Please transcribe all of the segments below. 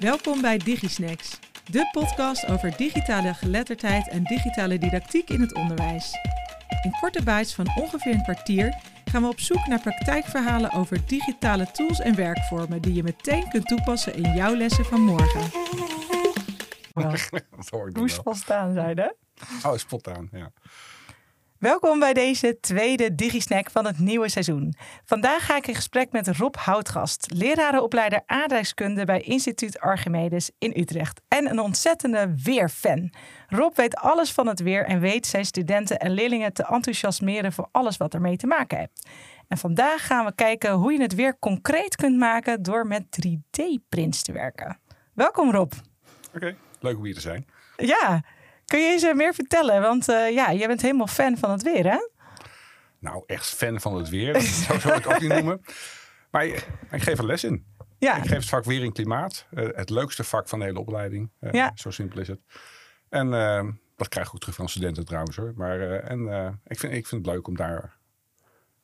Welkom bij DigiSnacks, de podcast over digitale geletterdheid en digitale didactiek in het onderwijs. In korte bites van ongeveer een kwartier gaan we op zoek naar praktijkverhalen over digitale tools en werkvormen die je meteen kunt toepassen in jouw lessen van morgen. Dat hoor ik dan Moest wel. spontaan zijn, hè? Oh, spontaan, ja. Welkom bij deze tweede DigiSnack van het nieuwe seizoen. Vandaag ga ik in gesprek met Rob Houtgast, lerarenopleider aardrijkskunde bij Instituut Archimedes in Utrecht. En een ontzettende weerfan. Rob weet alles van het weer en weet zijn studenten en leerlingen te enthousiasmeren voor alles wat ermee te maken heeft. En vandaag gaan we kijken hoe je het weer concreet kunt maken door met 3D-prints te werken. Welkom Rob. Oké, leuk om hier te zijn. Ja, kun je eens eh, meer vertellen? Want eh, ja, jij bent helemaal fan van het weer, hè? Nou, echt fan van het weer. Zo zou ik het ook niet noemen. Maar eh, ik geef er les in. Ja, Ik geef het vak weer in klimaat. Eh, het leukste vak van de hele opleiding. Eh, Ja. Zo simpel is het. En eh, dat krijg ik ook terug van studenten trouwens hoor. Maar eh, en, eh, ik, vind, ik vind het leuk om daar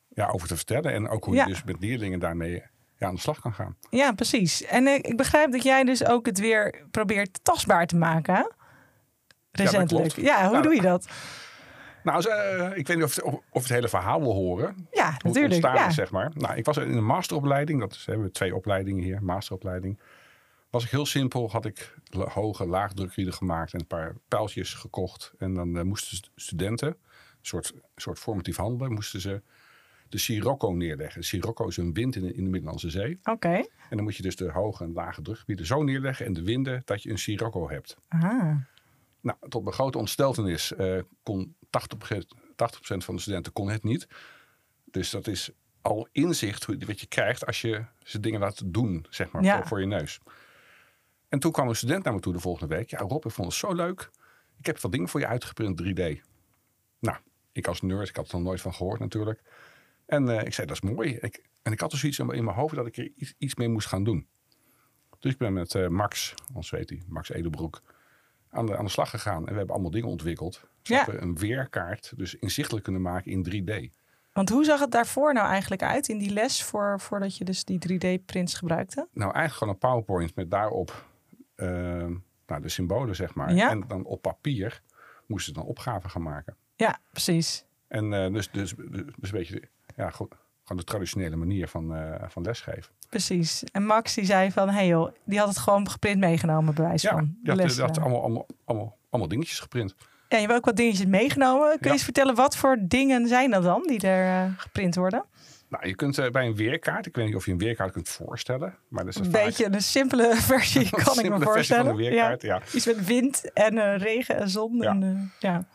ja, over te vertellen. En ook hoe Ja. je dus met leerlingen daarmee ja, aan de slag kan gaan. ja, precies. En eh, ik begrijp dat jij dus ook het weer probeert tastbaar te maken, hè? Recentelijk. klopt. Ja, hoe Ja, doe je dat? Nou, dus, eh, ik weet niet of, of, of het hele verhaal wil horen. Ja, hoe het natuurlijk. ontstaan Ja. is, zeg maar. Nou, ik was in een masteropleiding. Dat is, hebben we twee opleidingen hier. Masteropleiding. Was ik heel simpel. Had ik la- hoge laagdrukrieden gemaakt en een paar pijltjes gekocht. En dan eh, moesten st- studenten, een soort, soort formatief handelen, moesten ze de Sirocco neerleggen. De Sirocco is een wind in de, in de Middellandse Zee. Oké. En dan moet je dus de hoge en lage drukgebieden zo neerleggen en de winden dat je een Sirocco hebt. Ah, Nou, tot mijn grote ontsteltenis eh, kon 80%, 80% van de studenten kon het niet. Dus dat is al inzicht hoe- wat je krijgt als je ze dingen laat doen, zeg maar, Ja. voor, voor je neus. En toen kwam een student naar me toe de volgende week. Ja, Rob, ik vond het zo leuk. Ik heb wat dingen voor je uitgeprint 3D. Nou, ik als nerd, ik had er nog nooit van gehoord natuurlijk. En eh, ik zei, dat is mooi. Ik, en ik had dus iets in mijn hoofd dat ik er iets, iets mee moest gaan doen. Dus ik ben met eh, Max, ons weet hij, Max Edelbroek, aan de, aan de slag gegaan. En we hebben allemaal dingen ontwikkeld. Zodat Ja. we een weerkaart dus inzichtelijk kunnen maken in 3D. want hoe zag het daarvoor nou eigenlijk uit in die les voor, voordat je dus die 3D-prints gebruikte? Nou, eigenlijk gewoon een PowerPoint met daarop eh, nou, de symbolen, zeg maar. Ja. En dan op papier moesten ze dan opgaven gaan maken. Ja, precies. En eh, dus, dus, dus een beetje, ja, go- gewoon de traditionele manier van, eh, van lesgeven. Precies. En Max die zei van, hé hey joh, die had het gewoon geprint meegenomen, bij wijze Ja, van. de dat, les. eh. dat allemaal, allemaal, allemaal, allemaal dingetjes geprint. Ja, je hebt ook wat dingetjes meegenomen. Kun je Ja. eens vertellen wat voor dingen zijn dat dan die er eh, geprint worden? Nou, je kunt eh, bij een weerkaart, ik weet niet of je een weerkaart kunt voorstellen, maar dat is Een vaak beetje een simpele versie een kan ik me simpele versie voorstellen. van een weerkaart. Ja. Ja. Iets met wind en eh, regen en zon. Ja. En, eh, ja.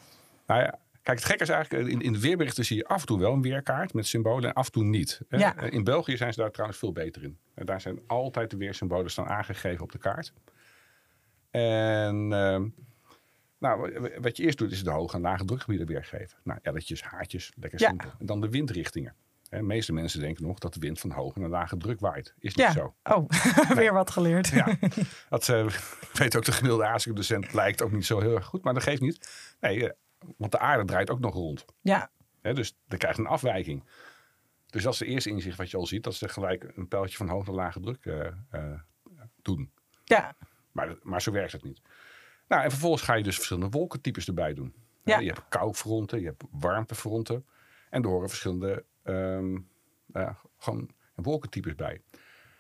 Nou ja, kijk, het gekke is eigenlijk, eh, in, in de weerberichten zie je af en toe wel een weerkaart met symbolen en af en toe niet. hè. Ja. Eh, In België zijn ze daar trouwens veel beter in. Eh, Daar zijn altijd de weersymbolen staan aangegeven op de kaart. En ehm, nou, w- w- wat je eerst doet is de hoge en lage drukgebieden weergeven. Nou, elletjes, haartjes, lekker Ja. simpel. En dan de windrichtingen. Hè, De meeste mensen denken nog dat de wind van hoge naar lage druk waait. Is niet ja. zo. Oh, weer wat geleerd. Ja, dat eh, weet ook de gemiddelde ASIC-docent blijkt ook niet zo heel erg goed, maar dat geeft niet. Nee, eh, want de aarde draait ook nog rond. Ja. Hè, dus dan krijg je een afwijking. Dus dat is de eerste inzicht wat je al ziet, dat ze gelijk een pijltje van hoge naar lage druk eh, eh, doen. Ja. Maar, maar zo werkt het niet. Nou, en vervolgens ga je dus verschillende wolkentypes erbij doen. Ja. Nou, Je hebt koufronten, je hebt warmtefronten. En er horen verschillende ehm, eh, gewoon wolkentypes bij.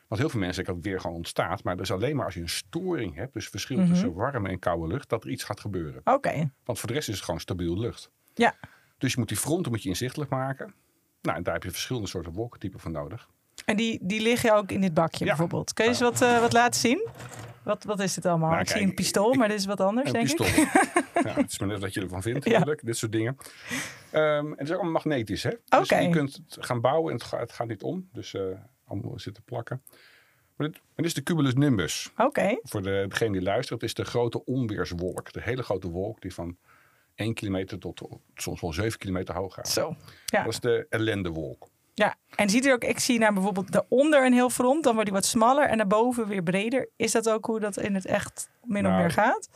Want heel veel mensen denken dat het weer gewoon ontstaat. Maar dat is alleen maar als je een storing hebt. Dus verschil tussen warme en koude lucht. Dat er iets gaat gebeuren. Oké. Want voor de rest is het gewoon stabiel lucht. Ja. Dus je moet die fronten moet je inzichtelijk maken. Nou, en daar heb je verschillende soorten wolkentypen voor nodig. En die, die liggen ook in dit bakje Ja. bijvoorbeeld. Kun je eens wat, eh, wat laten zien? Wat, wat is dit allemaal? Nou, ik zie kijk, een pistool, ik- maar dit is wat anders, Een denk ik. pistool. ja, het is maar net wat je ervan vindt, Ja. natuurlijk. Dit soort dingen. Ehm, en het is ook allemaal magnetisch, hè? Dus Oké. je kunt het gaan bouwen en het, ga- het gaat niet om. Dus eh, allemaal zitten plakken. Maar dit, en dit is de cumulus nimbus. Oké. Voor de, degene die luistert, het is de grote onweerswolk. De hele grote wolk die van 1 kilometer tot soms wel 7 kilometer hoog gaat. Zo. Ja. Dat is de ellendewolk. ja. En ziet er ook, ik zie nou bijvoorbeeld daaronder een heel front, dan wordt die wat smaller en daarboven weer breder. Is dat ook hoe dat in het echt min of Nou, meer gaat?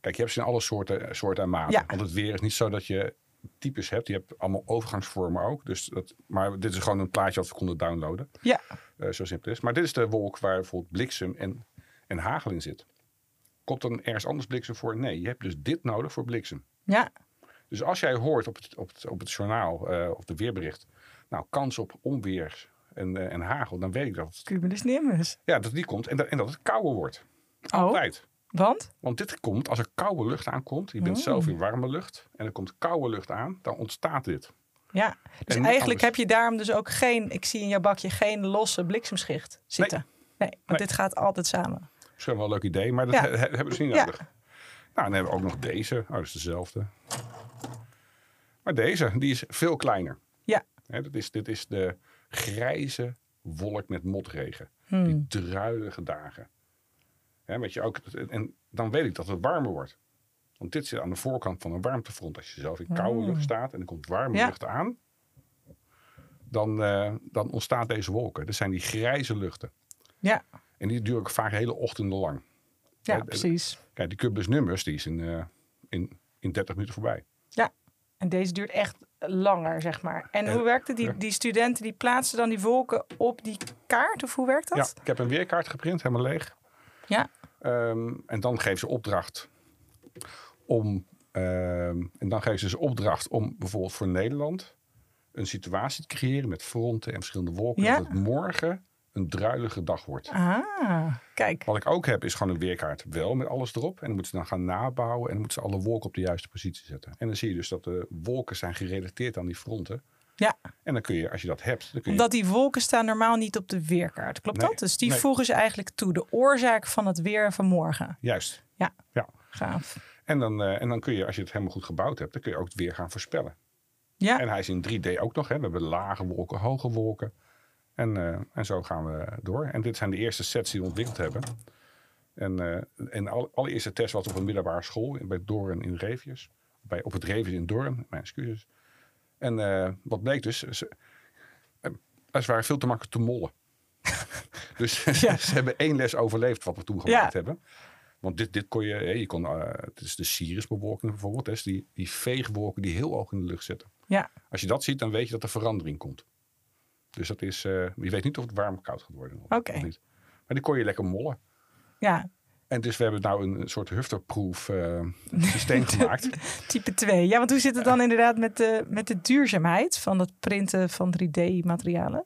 Kijk, je hebt ze in alle soorten, eh, soorten en maten. Ja. Want het weer is niet zo dat je types hebt. Je hebt allemaal overgangsvormen ook. Dus dat, maar dit is gewoon een plaatje wat we konden downloaden. Ja. Eh, zo simpel is. Maar dit is de wolk waar bijvoorbeeld bliksem en, en hagel in zit. Komt dan ergens anders bliksem voor? Nee, je hebt dus dit nodig voor bliksem. Ja, Dus als jij hoort op het, op het, op het journaal eh, of de weerbericht, nou kans op onweer en, eh, en hagel, dan weet ik dat, het- cumulus nimbus. ja, dat die komt en dat, en dat het kouder wordt. Oh, Altijd. want? Want dit komt als er koude lucht aankomt. Je bent zelf in warme lucht. En er komt koude lucht aan. Dan ontstaat dit. Ja, dus En niet eigenlijk anders. heb je daarom dus ook geen, ik zie in jouw bakje geen losse bliksemschicht zitten. Nee, want Nee. dit gaat altijd samen. Misschien wel een leuk idee, maar dat Ja. he- he- hebben we dus niet Ja. nodig. Nou, dan hebben we ook nog deze. Oh, dat is dezelfde. Maar deze, die is veel kleiner. Ja, Hè, dat is, dit is de grijze wolk met motregen. Hmm. Die druilige dagen. Hè, weet je, ook, en dan weet ik dat het warmer wordt. Want dit zit aan de voorkant van een warmtefront. Als je zelf in koude lucht staat en er komt warme Hmm. Ja. lucht aan, dan, eh, dan ontstaan deze wolken. Dat zijn die grijze luchten. ja, En die duren ook vaak hele ochtenden lang. ja, Ja, d- precies. Kijk, die Cubus nummers die is in, eh, in, in 30 minuten voorbij. Ja, en deze duurt echt langer, zeg maar. En Eh, hoe werkte die, die studenten, die plaatsen dan die wolken op die kaart? Of hoe werkt Ja, dat? ik heb een weerkaart geprint, helemaal leeg. Ja, Ehm, en dan geven ze opdracht om. ehm, en dan geven ze dus opdracht om bijvoorbeeld voor Nederland een situatie te creëren met fronten en verschillende wolken. Ja. Dat het morgen een druilige dag wordt. ah, kijk. Wat ik ook heb, is gewoon een weerkaart wel met alles erop. En dan moeten ze dan gaan nabouwen en dan moeten ze alle wolken op de juiste positie zetten. En dan zie je dus dat de wolken zijn gerelateerd aan die fronten. Ja, En dan kun je, als je dat hebt, dan kun je omdat die wolken staan normaal niet op de weerkaart. Klopt Nee, dat? Dus die nee. voegen ze eigenlijk toe. De oorzaak van het weer van morgen. Juist. Ja, Ja. gaaf. En dan, eh, en dan kun je, als je het helemaal goed gebouwd hebt, dan kun je ook het weer gaan voorspellen. Ja, En hij is in 3D ook nog. Hè. We hebben lage wolken, hoge wolken. En, eh, en zo gaan we door. En dit zijn de eerste sets die we ontwikkeld hebben. En, eh en alle- allereerste test was op een middelbare school in- bij Doorn in Revius. Bij, op het Revius in Doorn, mijn excuses. En eh, wat bleek dus, ze, eh, ze waren veel te makkelijk te mollen. dus Ja. ze hebben één les overleefd wat we toen gemaakt Ja. hebben. Want dit, dit kon je, hè, je kon, eh, het is de Siriusbewolking bijvoorbeeld, hè, is die, die veegwolken die heel hoog in de lucht zitten. ja. Als je dat ziet, dan weet je dat er verandering komt. Dus dat is, eh, je weet niet of het warm of koud gaat worden. of- Oké. of niet. Maar die kon je lekker mollen. ja. En dus we hebben nou een, een soort hufterproof eh, systeem gemaakt. Type 2. Ja, want hoe zit het dan inderdaad met de, met de duurzaamheid van het printen van 3D-materialen?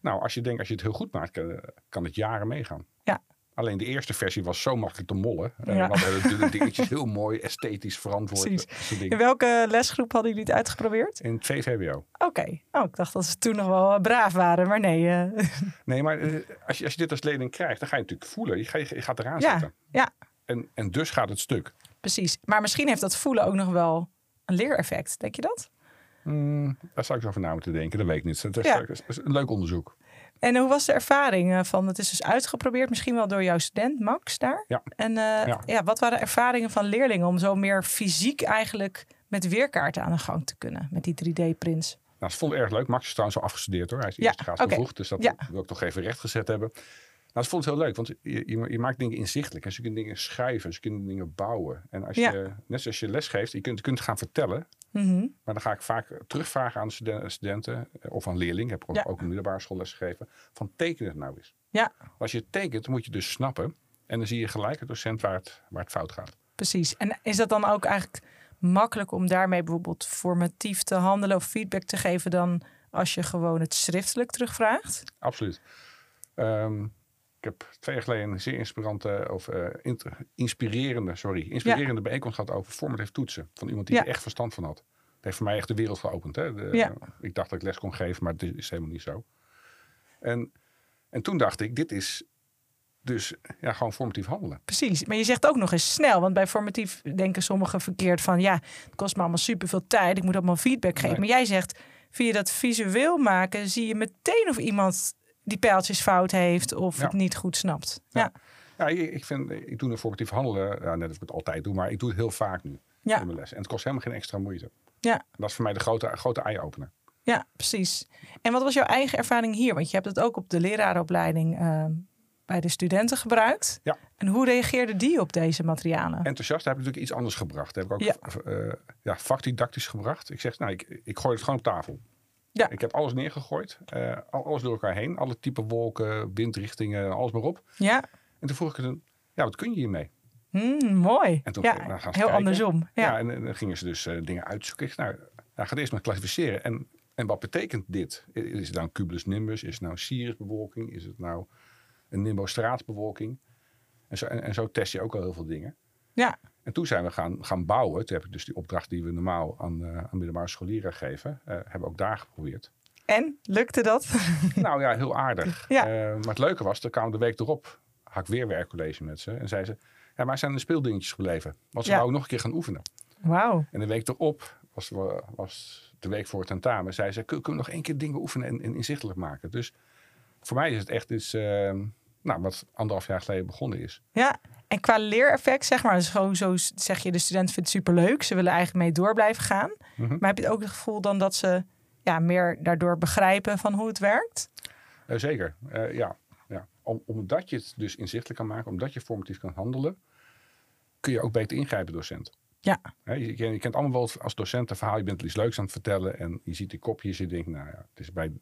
Nou, als je denkt, als je het heel goed maakt, kan, kan het jaren meegaan. Ja. Alleen de eerste versie was zo makkelijk te mollen. Eh, Ja. Want hele dunne dingetjes, heel mooi, esthetisch verantwoord. eh, Precies. dat soort dingen. In welke lesgroep hadden jullie het uitgeprobeerd? In het VVBO. Oké. Oh, ik dacht dat ze toen nog wel eh, braaf waren, maar nee. eh, Nee, maar eh, als, je, als je dit als leerling krijgt, dan ga je natuurlijk voelen. Je, ga, je gaat eraan ja, zitten. ja, En, en dus gaat het stuk. precies. Maar misschien heeft dat voelen ook nog wel een leereffect, denk je dat? Mm, daar zou ik zo over na moeten denken. Dat weet ik niet. Dat is, Ja. dat is een leuk onderzoek. En hoe was de ervaring eh, van? Het is dus uitgeprobeerd, misschien wel door jouw student Max daar. Ja. En eh, ja. Ja. wat waren de ervaringen van leerlingen om zo meer fysiek eigenlijk met weerkaarten aan de gang te kunnen met die 3D-prints? Nou, ze vonden het erg leuk. Max is trouwens al afgestudeerd hoor. Hij is Ja, eerst graad oké. vroeg, dus dat Ja. wil ik toch even rechtgezet hebben. Nou, ze vond het heel leuk, want je, je, je maakt dingen inzichtelijk. Hè. Ze kunnen dingen schrijven, ze kunnen dingen bouwen. En als Ja. je, net zoals je lesgeeft, je kunt, je kunt het gaan vertellen. Mhm. Maar dan ga ik vaak terugvragen aan studen- studenten eh, of aan leerlingen. Ik heb ook, Ja. ook een middelbare school lesgegeven. Van teken het nou eens. Ja, Als je het tekent, dan moet je dus snappen. En dan zie je gelijk het docent waar het, waar het fout gaat. Precies. En is dat dan ook eigenlijk makkelijk om daarmee bijvoorbeeld formatief te handelen of feedback te geven dan als je gewoon het schriftelijk terugvraagt? Absoluut. Ehm, ik heb twee jaar geleden een zeer inspirante, of, eh, inter- inspirerende, sorry, inspirerende bijeenkomst gehad over formative toetsen. Van iemand die Ja. er echt verstand van had. Het heeft voor mij echt de wereld geopend. Hè? De- Ja. Ik dacht dat ik les kon geven, maar dit is helemaal niet zo. En, en toen dacht ik, dit is dus ja, gewoon formatief handelen. Precies. Maar je zegt ook nog eens snel, want bij formatief denken sommigen verkeerd van ja, het kost me allemaal superveel tijd, ik moet allemaal feedback geven. Nee. Maar jij zegt via dat visueel maken zie je meteen of iemand die pijltjes fout heeft of Ja. het niet goed snapt. Ja. Ja. Ja, ik, ik, vind, ik doe een formatief handelen, ja, net als ik het altijd doe, maar ik doe het heel vaak nu Ja. in mijn les. En het kost helemaal geen extra moeite. ja. Dat is voor mij de grote, grote eye-opener. Ja, precies. En wat was jouw eigen ervaring hier? Want je hebt het ook op de lerarenopleiding eh, bij de studenten gebruikt. Ja. En hoe reageerden die op deze materialen? enthousiast heb ik natuurlijk iets anders gebracht. Heb ik ook Ja. eh, ja, vakdidactisch gebracht. Ik zeg, nou, ik, ik gooi het gewoon op tafel. ja, Ik heb alles neergegooid, eh, al alles door elkaar heen. Alle type wolken, windrichtingen, alles maar op. ja, En toen vroeg ik hun, ja, wat kun je hiermee? Hmm, mooi. En toen ja, gaan we heel gaan kijken. andersom. Ja. Ja, en, eh, dan gingen ze dus eh, dingen uitzoeken. Ik zei, nou, nou, ga eerst maar klassificeren. En, en wat betekent dit? I- Is het nou een cumulus nimbus? Is het nou een Siriusbewolking? Is het nou een nimbostraatbewolking? En zo, en, en zo test je ook al heel veel dingen. Ja. En toen zijn we gaan, gaan bouwen. Toen heb ik dus die opdracht die we normaal aan, eh, aan middelbare scholieren geven, eh, hebben we ook daar geprobeerd. En lukte dat? nou ja, heel aardig. Ja. Eh, maar het leuke was, er kwamen de week erop, had ik weer werkcollege met ze. En zei ze, ja, maar zijn de speeldingetjes gebleven? Want ze Ja. wou nog een keer gaan oefenen. Wauw. En de week erop was, we- was de week voor het tentamen. Zij zei, "Kun- kunnen we nog één keer dingen oefenen en, en inzichtelijk maken? Dus voor mij is het echt iets, ehm, nou, wat anderhalf jaar geleden begonnen is. Ja. En qua leereffect, zeg maar, dus gewoon zo s- zeg je, de student vindt het superleuk. Ze willen eigenlijk mee door blijven gaan. Mhm. Maar heb je het ook het gevoel dan dat ze ja, meer daardoor begrijpen van hoe het werkt? Eh, zeker, Eh, ja. ja. Om- omdat je het dus inzichtelijk kan maken, omdat je formatief kan handelen, kun je ook beter ingrijpen, docent. Ja. Hè, je, je- je kent allemaal wel het- als docent een verhaal, je bent iets leuks aan het vertellen en je ziet die kopjes, je denkt, nou ja, het is bij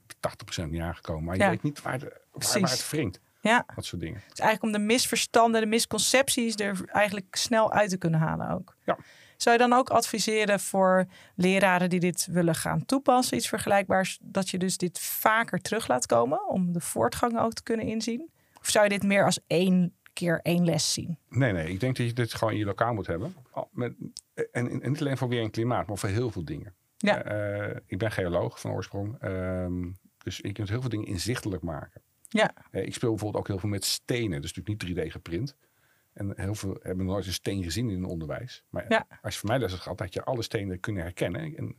80% niet aangekomen, maar je Ja. weet niet waar, de, waar, Precies. waar het wringt, Ja. dat soort dingen. Dus eigenlijk om de misverstanden, de misconcepties er eigenlijk snel uit te kunnen halen ook. Ja. Zou je dan ook adviseren voor leraren die dit willen gaan toepassen, iets vergelijkbaars, dat je dus dit vaker terug laat komen om de voortgang ook te kunnen inzien? Of zou je dit meer als één keer één les zien? Nee, nee, ik denk dat je dit gewoon in je lokaal moet hebben. Al- Met, en, en niet alleen voor weer en klimaat, maar voor heel veel dingen. Ja. Eh, ik ben geoloog van oorsprong, ehm, dus je kunt heel veel dingen inzichtelijk maken. Ja, Eh, ik speel bijvoorbeeld ook heel veel met stenen, dus natuurlijk niet 3D geprint. En heel veel hebben nooit een steen gezien in het onderwijs. Maar Ja. als je van mij les had gehad, had je alle stenen kunnen herkennen en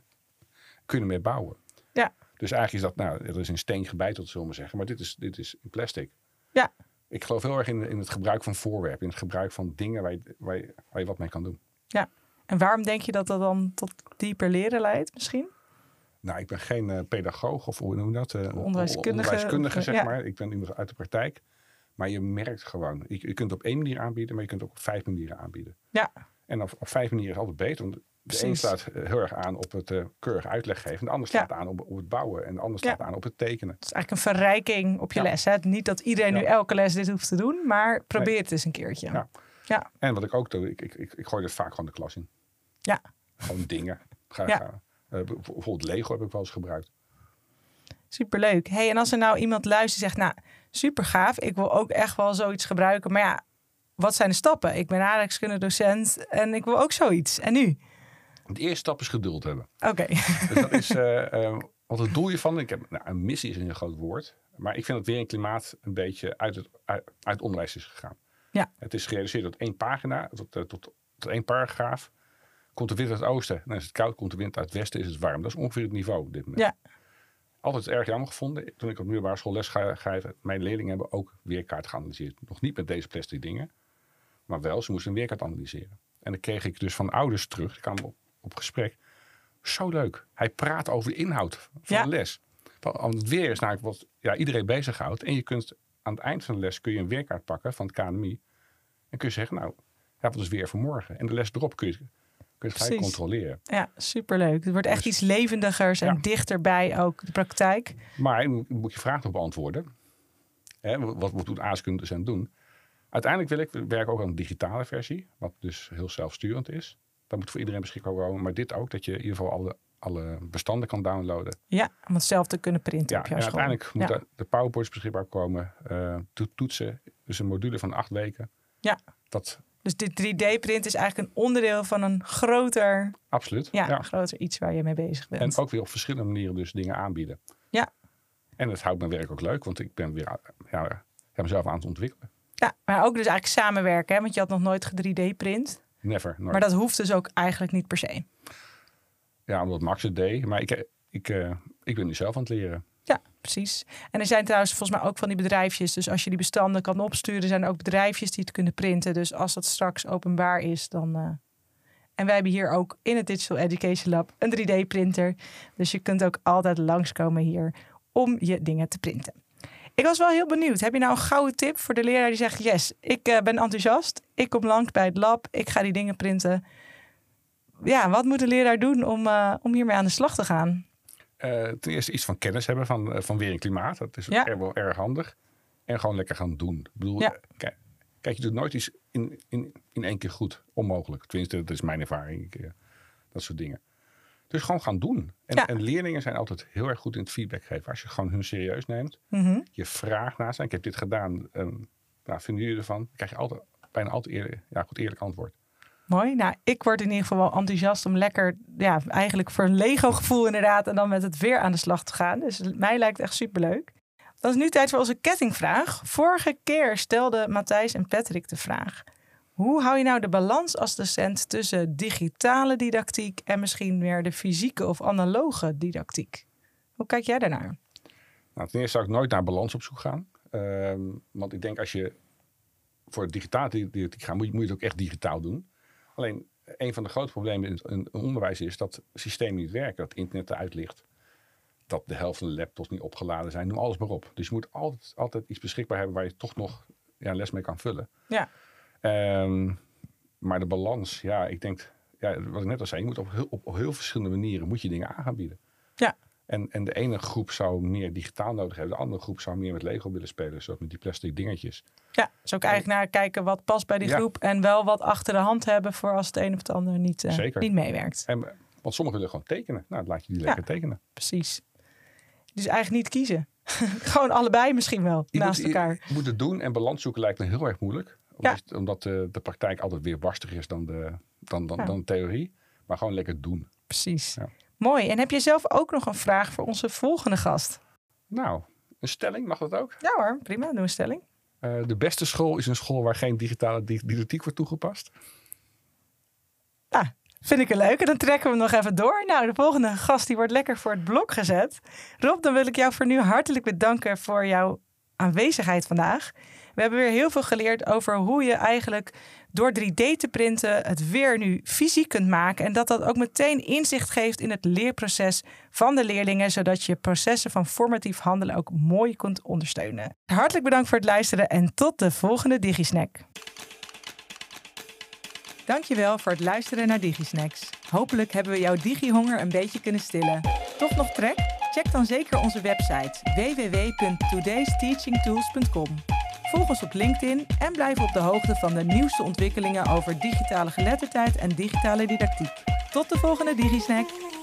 kunnen mee bouwen. Ja. Dus eigenlijk is dat, nou, er is een steen gebeiteld, zullen we maar zeggen. Maar dit is, dit is in plastic. ja. Ik geloof heel erg in, in het gebruik van voorwerpen. In het gebruik van dingen waar je, waar je, waar je wat mee kan doen. ja. En waarom denk je dat dat dan tot dieper leren leidt misschien? Nou, ik ben geen eh, pedagoog of hoe noem je dat? eh, Onderwijskundige. eh, onderwijskundige, zeg Ja. maar. Ik ben iemand uit de praktijk. Maar je merkt gewoon. Je, je kunt het op één manier aanbieden, maar je kunt het ook op vijf manieren aanbieden. Ja, En op, op vijf manieren is altijd beter. Want de een Precies. slaat eh, heel erg aan op het eh, keurig uitleg geven. En de ander Ja. slaat aan op, op het bouwen. En de ander Ja. slaat aan op het tekenen. het is eigenlijk een verrijking op je les. Hè? Niet dat iedereen Ja. nu elke les dit hoeft te doen, maar probeer het eens een keertje. Ja. ja. En wat ik ook doe, ik, ik, ik, ik gooi dat vaak gewoon de klas in. ja. Gewoon dingen. Ga, Ja. ga. Eh, b- bijvoorbeeld Lego heb ik wel eens gebruikt. Superleuk. Hey, en als er nou iemand luistert en zegt, nou, super gaaf. Ik wil ook echt wel zoiets gebruiken. Maar ja, wat zijn de stappen? Ik ben aardrijkskunde docent en ik wil ook zoiets. En nu? De eerste stap is geduld hebben. Oké. Dus dat is, eh, eh, wat het doel hiervan, ik heb, nou, een missie is een heel groot woord. Maar ik vind dat weer een klimaat een beetje uit het, uit, uit het onderwijs is gegaan. Ja. Het is gereduceerd tot één pagina, tot, eh, tot, tot één paragraaf. Komt de wind uit het oosten, dan is het koud. Komt de wind uit het westen, is het warm. Dat is ongeveer het niveau op dit moment. Ja. Altijd erg jammer gevonden. Toen ik op middelbare school les ga geven, mijn leerlingen hebben ook weerkaart geanalyseerd. Nog niet met deze plastic dingen, maar wel, ze moesten een weerkaart analyseren. En dan kreeg ik dus van ouders terug, ik kwam op, op gesprek. Zo leuk. Hij praat over de inhoud van Ja. de les. Want want het weer is namelijk wat ja, iedereen bezighoudt. En je kunt aan het eind van de les kun je een weerkaart pakken van het KNMI. En kun je zeggen, nou, ja, wat is weer voor morgen? En de les erop kun je, kun je het gelijk Precies. controleren. Ja, superleuk. Het wordt echt iets levendigers en Ja. dichterbij ook de praktijk. Maar je moet- moet je vraag nog beantwoorden. Hè, wat, wat doet aardrijkskunde dus doen? Uiteindelijk wil ik, we werken ook aan een digitale versie, wat dus heel zelfsturend is. Dat moet voor iedereen beschikbaar komen. Maar dit ook, dat je in ieder geval alle, alle bestanden kan downloaden. Ja, om het zelf te kunnen printen Ja, op en jouw school. uiteindelijk ja. moet daar de PowerPoints beschikbaar komen. eh, to- toetsen, dus een module van acht weken. ja, Dat dus dit 3D-print is eigenlijk een onderdeel van een groter, absoluut. ja, ja. een groter iets waar je mee bezig bent. En ook weer op verschillende manieren dus dingen aanbieden. Ja. En dat houdt mijn werk ook leuk, want ik ben weer ja, ik heb mezelf aan het ontwikkelen. ja, maar ook dus eigenlijk samenwerken, hè? want je had nog nooit 3D-print. Never, nooit. Maar dat hoeft dus ook eigenlijk niet per se. Ja, omdat Max het deed. Maar ik, ik, eh, ik ben nu zelf aan het leren. Ja, precies. En er zijn trouwens volgens mij ook van die bedrijfjes. Dus als je die bestanden kan opsturen, zijn er ook bedrijfjes die het kunnen printen. Dus als dat straks openbaar is, dan. eh, En wij hebben hier ook in het Digital Education Lab een 3D-printer. Dus je kunt ook altijd langskomen hier om je dingen te printen. Ik was wel heel benieuwd. Heb je nou een gouden tip voor de leraar die zegt: Yes, ik eh, ben enthousiast. Ik kom langs bij het lab. Ik ga die dingen printen. Ja, wat moet de leraar doen om, eh, om hiermee aan de slag te gaan? Eh, ten eerste iets van kennis hebben van, eh, van weer en klimaat. Dat is Ja. er wel erg handig. En gewoon lekker gaan doen. Ik bedoel, Ja. eh, kijk, Kijk, je doet nooit iets in, in, in één keer goed. Onmogelijk. Tenminste, dat is mijn ervaring. Ik, eh, dat soort dingen. Dus gewoon gaan doen. En, Ja. en leerlingen zijn altijd heel erg goed in het feedback geven. Als je gewoon hun serieus neemt, Mhm. je vraagt naar zijn. Ik heb dit gedaan. en nou, vinden jullie ervan? Dan krijg je altijd, bijna altijd eerlijk, ja, goed eerlijk antwoord. Mooi. Nou, ik word in ieder geval wel enthousiast om lekker, ja, eigenlijk voor een Lego gevoel inderdaad, en dan met het weer aan de slag te gaan. Dus mij lijkt het echt superleuk. Dan is nu tijd voor onze kettingvraag. Vorige keer stelden Matthijs en Patrick de vraag. Hoe hou je nou de balans als docent tussen digitale didactiek en misschien weer de fysieke of analoge didactiek? Hoe kijk jij daarnaar? Nou, ten eerste zou ik nooit naar balans op zoek gaan. Ehm, want ik denk als je voor digitaal didactiek gaat, moet je, moet je het ook echt digitaal doen. Alleen een van de grote problemen in het in het onderwijs is dat systemen niet werken, dat internet eruit ligt. Dat de helft van de laptops niet opgeladen zijn, noem alles maar op. Dus je moet altijd, altijd iets beschikbaar hebben waar je toch nog ja, les mee kan vullen. Ja, Ehm, maar de balans, ja, ik denk, ja, wat ik net al zei, je moet op heel, op heel verschillende manieren moet je dingen aan gaan bieden. ja. En, en de ene groep zou meer digitaal nodig hebben. De andere groep zou meer met Lego willen spelen. Zoals met die plastic dingetjes. ja. dus ook eigenlijk naar kijken wat past bij die Ja. groep en wel wat achter de hand hebben voor als het een of het ander niet, eh, Zeker. niet meewerkt. En, want sommigen willen gewoon tekenen. Nou, dan laat je die lekker tekenen. Precies. Dus eigenlijk niet kiezen. Gewoon allebei misschien wel, Je naast moet, je- elkaar. Je, moet het doen. En balans zoeken lijkt me heel erg moeilijk. Omdat, omdat eh, de praktijk altijd weer barstiger is dan de, dan, dan, Ja. dan de theorie. Maar gewoon lekker doen. Precies. Ja. Mooi. En heb je zelf ook nog een vraag voor onze volgende gast? Nou, een stelling, mag dat ook? Ja hoor, prima. Doe een stelling. Eh, de beste school is een school waar geen digitale di- didactiek wordt toegepast. Nou, vind ik een leuke. Dan trekken we hem nog even door. Nou, de volgende gast die wordt lekker voor het blok gezet. Rob, dan wil ik jou voor nu hartelijk bedanken voor jouw aanwezigheid vandaag. We hebben weer heel veel geleerd over hoe je eigenlijk door 3D te printen het weer nu fysiek kunt maken. En dat dat ook meteen inzicht geeft in het leerproces van de leerlingen. Zodat je processen van formatief handelen ook mooi kunt ondersteunen. Hartelijk bedankt voor het luisteren en tot de volgende DigiSnack. Dankjewel voor het luisteren naar DigiSnacks. Hopelijk hebben we jouw digihonger een beetje kunnen stillen. Toch nog trek? Check dan zeker onze website www.todaysteachingtools.com. Volg ons op LinkedIn en blijf op de hoogte van de nieuwste ontwikkelingen over digitale geletterdheid en digitale didactiek. Tot de volgende DigiSnack!